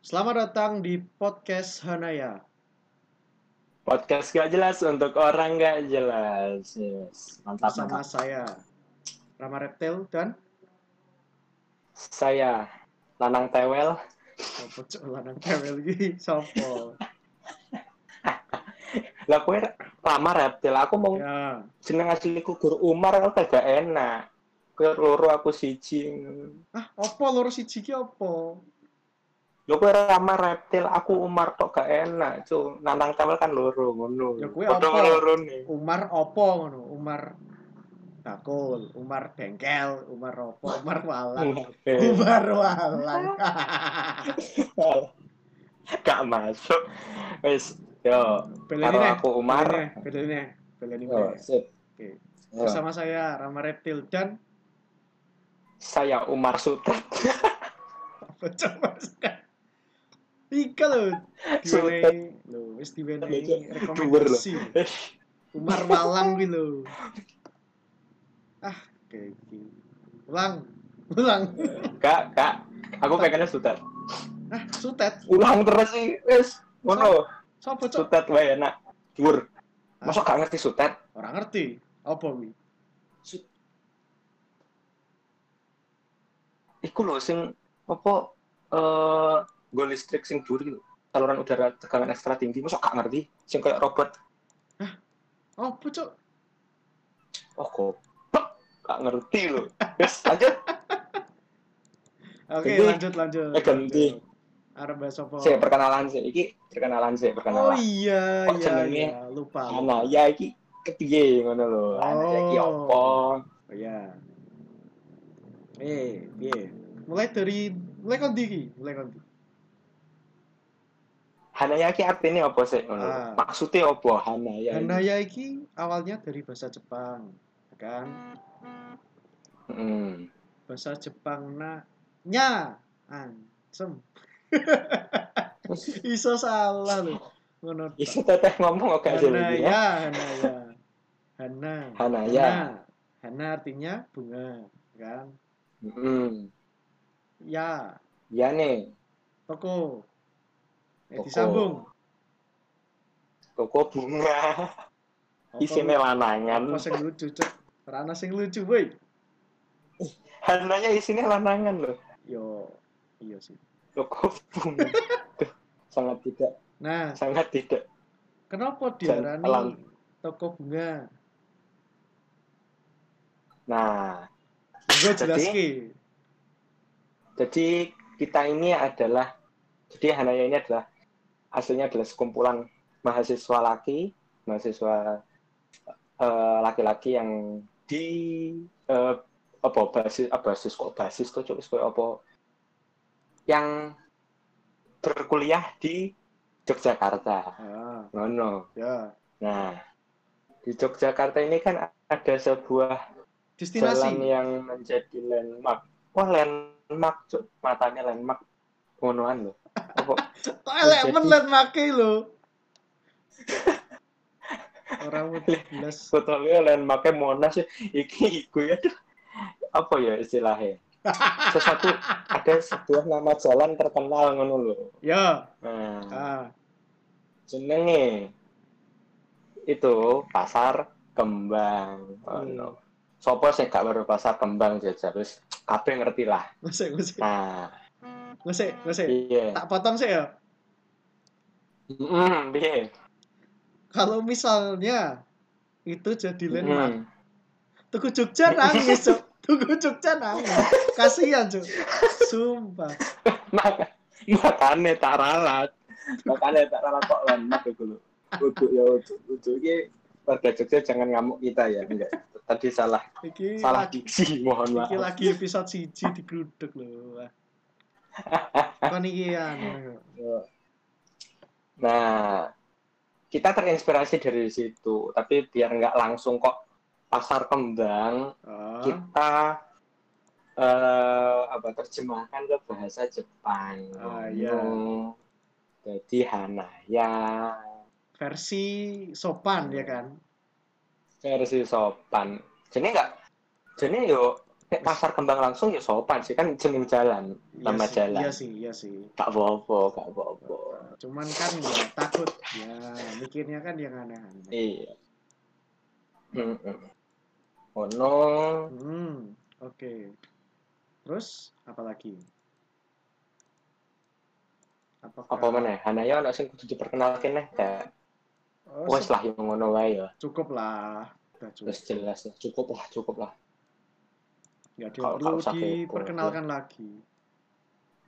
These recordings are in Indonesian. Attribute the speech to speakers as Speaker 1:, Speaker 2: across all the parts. Speaker 1: Selamat datang di podcast Hanaya.
Speaker 2: Podcast gak jelas untuk orang gak jelas. Yes. Mantap,
Speaker 1: Bersama
Speaker 2: mantap.
Speaker 1: saya Rama Reptil dan
Speaker 2: Saya Nanang Tewel.
Speaker 1: Sopo Cok lanang cewek lagi Sopo.
Speaker 2: Lah kue lama reptil. Aku mau
Speaker 1: Ya,
Speaker 2: jeneng asliku Gur Umar kan gak enak. Kue loro aku siji.
Speaker 1: ah opo loro siji ki opo?
Speaker 2: Lo kue lama reptil. Aku Umar kok gak enak. Cu Nanang Tewel kan loro ngono.
Speaker 1: Ya kue
Speaker 2: Padha
Speaker 1: apa?
Speaker 2: loro nih.
Speaker 1: Umar opo ngono? Umar Bakul, Umar Bengkel, Umar opo, Umar Walang. Umar Walang.
Speaker 2: Gak masuk. Wes, yo.
Speaker 1: Beleni
Speaker 2: Karo
Speaker 1: nih,
Speaker 2: aku Umar. Oh,
Speaker 1: beleni nih, beleni nih.
Speaker 2: Yo, sip.
Speaker 1: Oke.
Speaker 2: Yo.
Speaker 1: Bersama saya Rama Reptil dan
Speaker 2: Saya Umar Sutra.
Speaker 1: Coba sekarang. Ika lho, diwenehi, lho, wis diwenehi rekomendasi. Umar Malang kuwi lho. Ah, kayak gini. Ulang, ulang.
Speaker 2: Kak, kak, aku pengennya sutet.
Speaker 1: Ah, sutet.
Speaker 2: Ulang terus sih, wis. Ngono,
Speaker 1: Sopo cok?
Speaker 2: sutet wae enak. Dhuwur.
Speaker 1: Ah.
Speaker 2: Masa gak ngerti sutet?
Speaker 1: Ora ngerti. Apa kuwi?
Speaker 2: Iku lho sing apa eh go listrik sing dhuwur gitu. Saluran udara tegangan ekstra tinggi, masa gak ngerti? Sing kayak robot.
Speaker 1: Apa cok?
Speaker 2: Oh, goblok. Gak ngerti lho. Wis, lanjut.
Speaker 1: Oke,
Speaker 2: Ganti.
Speaker 1: lanjut lanjut.
Speaker 2: Eh, ganti.
Speaker 1: lanjut. Arep bahas apa?
Speaker 2: Sik perkenalan sih. Iki perkenalan sih,
Speaker 1: Oh
Speaker 2: perkenalan.
Speaker 1: iya,
Speaker 2: Kok
Speaker 1: iya,
Speaker 2: jenenge?
Speaker 1: iya, lupa. Oh
Speaker 2: Ana, ya iki kepiye ngono lho. Ana ya iki
Speaker 1: Oh.
Speaker 2: apa?
Speaker 1: iya. Eh, piye? Mulai dari mulai kondi iki, mulai kondi.
Speaker 2: Hanayaki artinya apa sih? ngono lho?
Speaker 1: Ah.
Speaker 2: Maksudnya apa Hanayaki?
Speaker 1: Handaya iki awalnya dari bahasa Jepang, ya kan?
Speaker 2: Hmm.
Speaker 1: Bahasa Jepang na nya ansem. Iso salah lho. Ngono.
Speaker 2: Isu teteh ngomong oke aja lagi ya.
Speaker 1: Handaya, handaya. Hana.
Speaker 2: Hanaya.
Speaker 1: Hana. Hana artinya bunga, ya kan?
Speaker 2: Hmm.
Speaker 1: Ya,
Speaker 2: Ya nih,
Speaker 1: toko. Eh,
Speaker 2: Toko.
Speaker 1: disambung.
Speaker 2: toko bunga.
Speaker 1: Apa-
Speaker 2: Isinya
Speaker 1: Apa
Speaker 2: lanangan.
Speaker 1: sing lucu, Cuk? Ora ana sing lucu, woi.
Speaker 2: Hananya isinya lanangan loh.
Speaker 1: Yo, iya sih.
Speaker 2: Toko bunga. Duh, sangat tidak,
Speaker 1: Nah,
Speaker 2: sangat tidak.
Speaker 1: kenapa
Speaker 2: Jalan.
Speaker 1: diarani toko bunga?
Speaker 2: Nah,
Speaker 1: Gue
Speaker 2: Jadi-
Speaker 1: jelaski.
Speaker 2: jadi kita ini adalah, jadi Hanaya ini adalah aslinya adalah sekumpulan mahasiswa laki, mahasiswa eh, laki-laki yang di eh, apa basis ah, basis kok basis kok cuk, kok apa yang berkuliah di Yogyakarta.
Speaker 1: Ah,
Speaker 2: Ngono.
Speaker 1: ya.
Speaker 2: Nah, di Yogyakarta ini kan ada sebuah jalan ya.
Speaker 1: Destinasi.
Speaker 2: yang menjadi landmark. Wah, landmark, cuk. matanya landmark. Ngonoan loh. Apa
Speaker 1: Kok elek
Speaker 2: Jadi-
Speaker 1: men liat make lho. Ora wedi blas.
Speaker 2: sebetulnya landmarknya Monas ya. iki iku ya aduh. apa ya istilahnya sesuatu ada sebuah nama jalan terkenal ngono lho
Speaker 1: Ya,
Speaker 2: nah
Speaker 1: ah,
Speaker 2: jenenge itu pasar kembang
Speaker 1: Hmm.
Speaker 2: ngono Sopo sih gak baru pasar kembang jajal wis kabeh ngerti lah
Speaker 1: ngesek ngesek
Speaker 2: nah iya.
Speaker 1: ngesek ngesek.
Speaker 2: piye
Speaker 1: Eh, Tak potong sih ya.
Speaker 2: heeh piye
Speaker 1: Kalau misalnya itu jadi landmark,
Speaker 2: Mm.
Speaker 1: Tugu Jogja nangis, Cuk. Tugu Jogja nangis. Kasihan, Cuk. Sumpah.
Speaker 2: Mak- makane tak ralat makane tak ralat kok landmark iku lho Ujuk ya ujuk ujuk iki warga Jogja jangan ngamuk kita ya enggak tadi salah
Speaker 1: Iki
Speaker 2: salah
Speaker 1: lagi,
Speaker 2: diksi mohon
Speaker 1: iki
Speaker 2: maaf
Speaker 1: Iya. lagi episode siji digrudeg lho. Wah. Kan iki anu.
Speaker 2: nah kita terinspirasi dari situ tapi biar nggak langsung kok pasar kembang
Speaker 1: Ah.
Speaker 2: kita eh apa terjemahkan ke bahasa Jepang
Speaker 1: Ah, iya.
Speaker 2: jadi Hanaya
Speaker 1: versi sopan ya kan
Speaker 2: versi sopan jadi nggak jadi yo Nek pasar kembang langsung ya sopan sih kan jeneng jalan,
Speaker 1: sih,
Speaker 2: nama jalan.
Speaker 1: Iya sih, iya sih.
Speaker 2: Gak apa-apa, gak apa-apa.
Speaker 1: Cuman kan ya takut ya mikirnya kan yang aneh-aneh.
Speaker 2: Iya. Mm-mm. Oh no.
Speaker 1: Hmm, oke. Terus apa lagi? Apakah
Speaker 2: Apa meneh? Hanaya anak sing kudu diperkenalkan neh. gak?
Speaker 1: Oh,
Speaker 2: Wes lah yang ngono wae ya.
Speaker 1: cukup lah. Udah cukup.
Speaker 2: Wes jelas lah. cukup lah, cukup lah.
Speaker 1: Nggak ada yang
Speaker 2: Kalau-
Speaker 1: perlu
Speaker 2: kalau sakit,
Speaker 1: diperkenalkan lagi.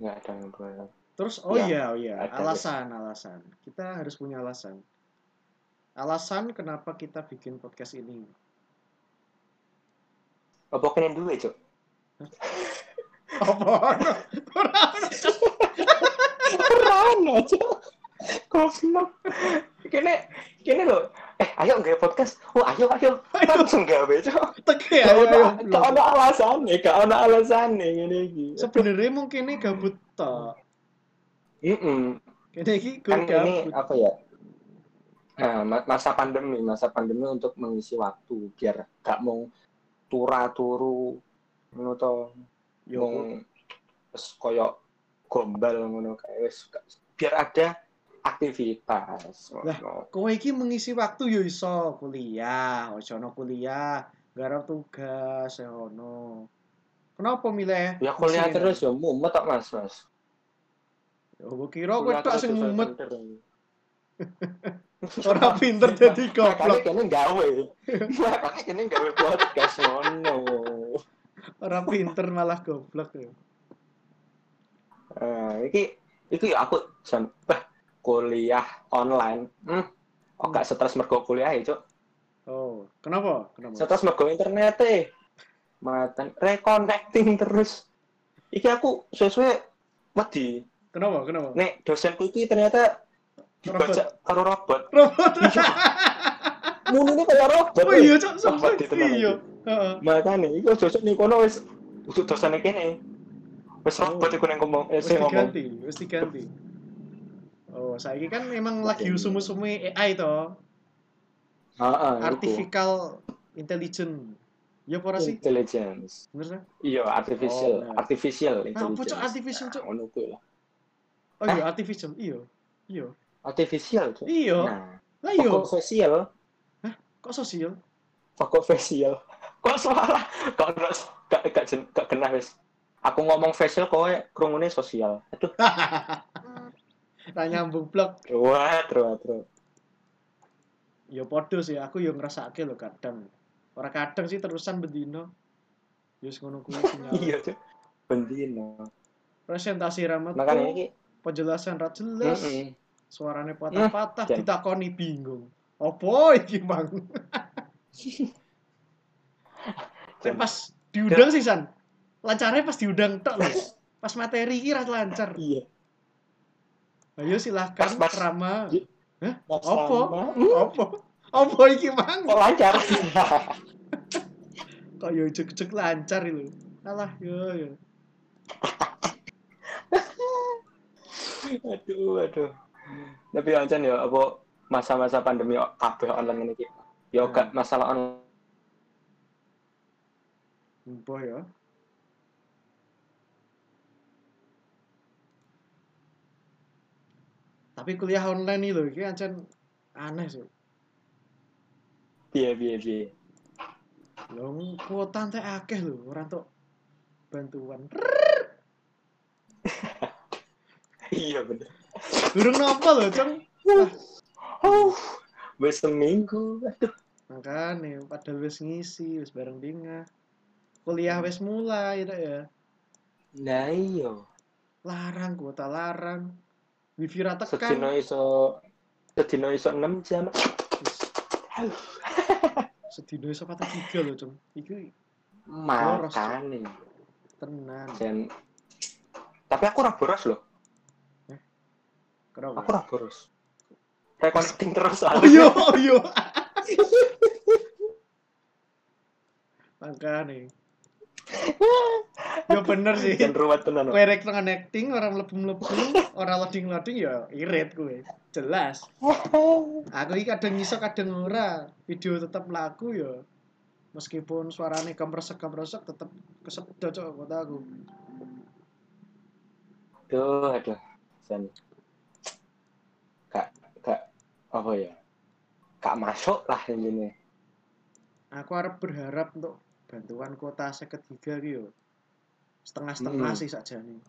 Speaker 2: Enggak ada yang benar.
Speaker 1: Terus oh
Speaker 2: Ya,
Speaker 1: iya oh iya
Speaker 2: ada.
Speaker 1: alasan alasan kita harus punya alasan alasan kenapa kita bikin podcast ini
Speaker 2: Apa kene duwe, Cuk?
Speaker 1: apa
Speaker 2: Rano, Cuk. Goblok. Kene kene lho. Eh, ayo nggawe podcast. Oh, ayo ayo. Langsung gawe, Cuk.
Speaker 1: teke
Speaker 2: Gak
Speaker 1: ayo, ayo,
Speaker 2: ono- Ya, gak ono alasannya, gak ono alasannya ngene iki.
Speaker 1: sebenarnya mungkin ini gabut tok
Speaker 2: Mm-mm.
Speaker 1: ini iki gue
Speaker 2: Kan ini
Speaker 1: gabut
Speaker 2: apa ya? Nah, ma- masa pandemi, masa pandemi untuk mengisi waktu biar gak mau tura turu ngono to,
Speaker 1: yo
Speaker 2: mung wis koyo gombal ngono kae wis gak- biar ada aktivitas.
Speaker 1: Lah.
Speaker 2: ngono.
Speaker 1: kowe iki mengisi waktu yo iso kuliah ojo ono kuliah garap tugas ya ono kenapa milih
Speaker 2: Ya kuliah
Speaker 1: kesini?
Speaker 2: terus ya mumet tok Mas, Mas.
Speaker 1: yo gua kira kowe tok sing mumet
Speaker 2: Orang
Speaker 1: ora pinter dadi
Speaker 2: Makanya
Speaker 1: goblok
Speaker 2: kene gawe. Makanya kene gawe podcast ngono.
Speaker 1: ora pinter malah goblok yo
Speaker 2: Eh, iki iki ya aku jam bah, kuliah online. Hmm. Kok gak stres mergo kuliah ya, Cuk?
Speaker 1: Oh, kenapa? Kenapa?
Speaker 2: Stres mergo internet e. Maten reconnecting terus. Iki aku sesuai wedi.
Speaker 1: Kenapa? Kenapa?
Speaker 2: Nek dosenku iki ternyata dibaca karo robot.
Speaker 1: Robot.
Speaker 2: Mulune kaya robot.
Speaker 1: oh iya, cok,
Speaker 2: Wah, wedi
Speaker 1: sampai
Speaker 2: tenan iki.
Speaker 1: iya. Heeh.
Speaker 2: makanya itu dosen nih kono wis untuk dosen kene wis
Speaker 1: Oh.
Speaker 2: robot iku nang ngomong eh
Speaker 1: Wis
Speaker 2: sing ngomong
Speaker 1: diganti, wis diganti. Oh, saiki kan memang
Speaker 2: Oke. Nah,
Speaker 1: lagi usum-usume AI to,
Speaker 2: heeh
Speaker 1: artificial intelligence. Ya apa ora sih?
Speaker 2: intelligence
Speaker 1: Bener ta?
Speaker 2: iya
Speaker 1: Oh,
Speaker 2: artificial
Speaker 1: nah.
Speaker 2: artificial
Speaker 1: Apa
Speaker 2: intelligence Nah,
Speaker 1: cok artificial cok?
Speaker 2: ngono kuwi lah
Speaker 1: Oh iya, artificial. Iya. Iya.
Speaker 2: artificial Cuk.
Speaker 1: Iya.
Speaker 2: nah
Speaker 1: Lah iya,
Speaker 2: pokok sosial
Speaker 1: kok sosial?
Speaker 2: pokok facial kok salah kok ora gak gak jen- gak kena wis aku ngomong facial kowe krungune sosial aduh
Speaker 1: Ra nyambung blok.
Speaker 2: wah terus terus
Speaker 1: Ya padha sih, aku ya ngrasake lho kadang. Ora kadang sih terusan bendino. Yus ngono kuwi sinyal.
Speaker 2: iya tuh bendino
Speaker 1: presentasi ramat
Speaker 2: makanya ini
Speaker 1: penjelasan ra jelas
Speaker 2: heeh
Speaker 1: suaranya patah-patah
Speaker 2: Jan.
Speaker 1: ditakoni bingung opo iki bang Tapi pas diundang sih san lancarnya pas diundang tok lho pas materi iki ra lancar
Speaker 2: iya
Speaker 1: ayo silahkan
Speaker 2: Pas- Hmm? pas-
Speaker 1: Rama
Speaker 2: Iya.
Speaker 1: Apa?
Speaker 2: Sama.
Speaker 1: opo opo iki mang
Speaker 2: kok lancar
Speaker 1: kok yo jek-jek lancar lho alah yo yo
Speaker 2: aduh aduh tapi lancar ya apa masa-masa pandemi kabeh online ini ki. ya
Speaker 1: Hmm.
Speaker 2: gak masalah online
Speaker 1: Mpo ya tapi kuliah online nih lho iki ancen aneh sih
Speaker 2: biye biye biye
Speaker 1: Lho, kuota teh akeh lho, ora entuk bantuan.
Speaker 2: iya bener
Speaker 1: Durung nopo lho, Ceng.
Speaker 2: uh wis seminggu aduh
Speaker 1: Makane padahal wis ngisi, wis bareng bingah. Kuliah wis mulai tak ya.
Speaker 2: nah iya
Speaker 1: Larang kuota larang. Wifi ra
Speaker 2: sedina
Speaker 1: tekan.
Speaker 2: iso sedina iso 6 jam
Speaker 1: Sedina iso patang giga lho, Ceng. Iku Boros,
Speaker 2: makane
Speaker 1: tenan.
Speaker 2: dan tapi aku ora boros loh aku
Speaker 1: Kenapa?
Speaker 2: ora boros reconnecting terus
Speaker 1: Oh iya, oh iya. Makane. Ya bener sih.
Speaker 2: dan ruwet tenan
Speaker 1: kue rek connecting orang mlebu mlebu orang loading loading ya irit kue
Speaker 2: Oh,
Speaker 1: jelas aku ini kadang iso kadang ora video tetap laku ya meskipun suaranya kemresek kemresek tetap kesedot cok kata aku
Speaker 2: Duh, aduh. Sen. Kak, kak, apa ya? Kak masuk lah ini.
Speaker 1: aku harap berharap untuk bantuan kuota seket giga gitu setengah setengah
Speaker 2: Hmm.
Speaker 1: sih saja nih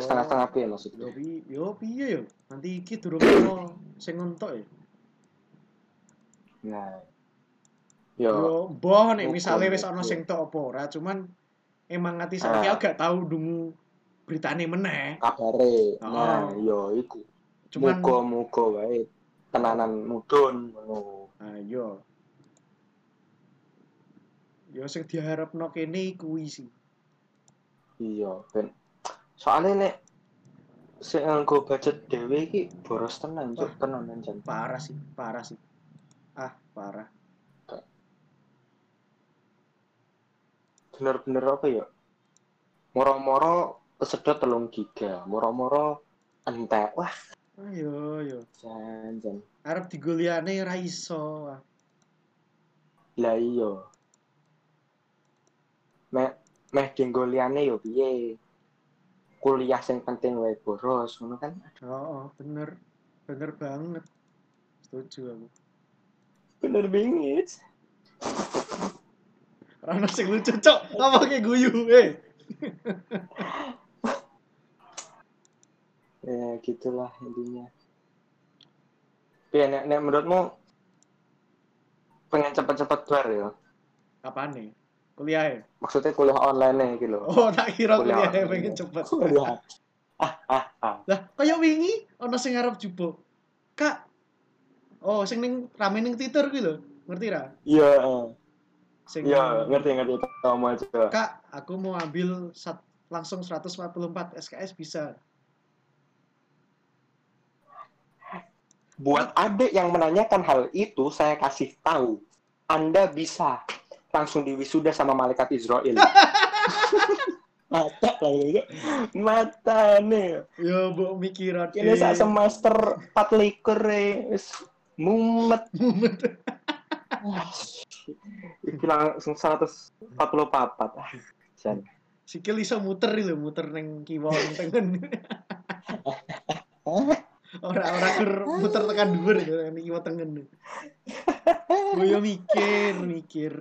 Speaker 1: Yo.
Speaker 2: setengah-setengah piye maksudnya.
Speaker 1: Oh. yo pi yo piye yo nanti iki durung ono sing entuk ya
Speaker 2: Nah. Yo,
Speaker 1: yo mbah nek
Speaker 2: Ngukur,
Speaker 1: misale wis ono
Speaker 2: ngukur.
Speaker 1: sing tok apa ora cuman emang ngati saiki
Speaker 2: Ah.
Speaker 1: aku gak tau dungu beritane meneh Oh.
Speaker 2: kabare. Nah, yo iku.
Speaker 1: cuman
Speaker 2: Muga-muga wae tenanan mudun ngono.
Speaker 1: ayo yo sing diharapno kene kuwi sih
Speaker 2: Iya, ben. Soalnya nek sing nganggo budget dhewe iki boros tenan,
Speaker 1: Ah.
Speaker 2: cuk, tenan jan.
Speaker 1: parah sih parah sih ah parah
Speaker 2: bener-bener apa ya moro-moro kesedot telung giga moro-moro entek wah
Speaker 1: ayo Ah, yo
Speaker 2: jan jan
Speaker 1: arep digoliane ra iso Ah, Wah,
Speaker 2: lah iya meh meh dienggo liyane yo piye kuliah sing penting wae boros ngono kan
Speaker 1: Oh, oh, bener. Bener banget. Setuju aku.
Speaker 2: bener bingit
Speaker 1: Rano sing lucu, Cok. Ngomongnya guyu, eh.
Speaker 2: ya gitulah intinya piye nek, nek menurutmu pengen cepet-cepet bar ya
Speaker 1: Kapan nih? Kuliah ya?
Speaker 2: maksudnya kuliah online nih gitu loh
Speaker 1: Oh, tak kira kuliah,
Speaker 2: Kuliah.
Speaker 1: pengen cepet.
Speaker 2: kuliah ah ah ah
Speaker 1: Lah, kaya wingi ono sing arep jupuk. Kak. Oh, sing ning rame ning Twitter kuwi lho. Ngerti ra?
Speaker 2: iya
Speaker 1: Sing
Speaker 2: Iya, ngerti ngerti tau mau juga.
Speaker 1: Kak, aku mau ambil sat- langsung 144 SKS bisa.
Speaker 2: Buat adik yang menanyakan hal itu, saya kasih tahu. Anda bisa langsung diwisuda sama malaikat Israel. Mata
Speaker 1: gitu.
Speaker 2: lagi, mata nih.
Speaker 1: Yo, mbok mikiran. eh.
Speaker 2: Ini saat semester 4 likur eh. mumet.
Speaker 1: Mumet.
Speaker 2: Iki langsung 144 ah. Jan.
Speaker 1: Sikil iso muter lho, muter ning kiwa ning tengen. ora ora ger muter tekan dhuwur ya nek kiwa tengen. Gue yo mikir, mikir.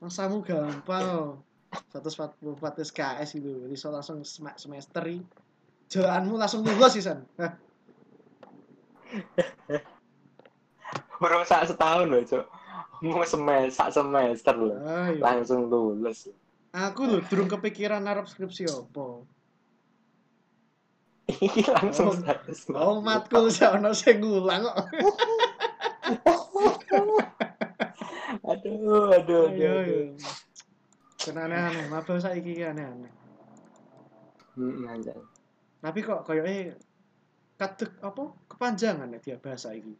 Speaker 1: Masamu gampang. 144 SKS itu, gitu. iso langsung sem- semester i. Jalanmu langsung lulus sisan. Hah,
Speaker 2: Baru sak setahun loh, Cuk. Mau semester, sak semester loh.
Speaker 1: ayo.
Speaker 2: Langsung lulus.
Speaker 1: Aku lho durung kepikiran arep skripsi apa.
Speaker 2: Iki langsung
Speaker 1: Oh.
Speaker 2: status.
Speaker 1: Oh, matkul sak ono sing ngulang kok.
Speaker 2: aduh, aduh, aduh.
Speaker 1: Ayo.
Speaker 2: aduh.
Speaker 1: Kenane-aneh, mabel saiki ki aneh-aneh.
Speaker 2: Hmm, anjay.
Speaker 1: Tapi kok koyoke katek apa kepanjangan ya dia bahasa iki.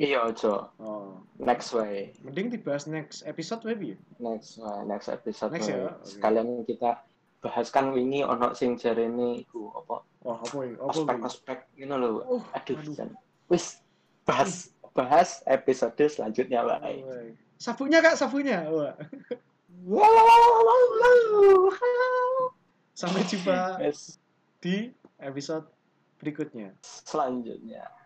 Speaker 2: Iya, Jo.
Speaker 1: Oh,
Speaker 2: Next way.
Speaker 1: mending dibahas next episode maybe ya.
Speaker 2: Next way. Next episode.
Speaker 1: Next
Speaker 2: way.
Speaker 1: ya, oke.
Speaker 2: Sekalian kita bahaskan wingi ono sing jarene iku apa?
Speaker 1: Wah, apa ya? Apa iki?
Speaker 2: Ospek-ospek ngono lho.
Speaker 1: Oh,
Speaker 2: Aduh,
Speaker 1: aduh.
Speaker 2: Jan. Wis bahas bahas episode selanjutnya, Pak.
Speaker 1: Woi. Sapunya Kak, sapunya. Wah. Sampai jumpa
Speaker 2: Yes,
Speaker 1: di episode berikutnya.
Speaker 2: selanjutnya.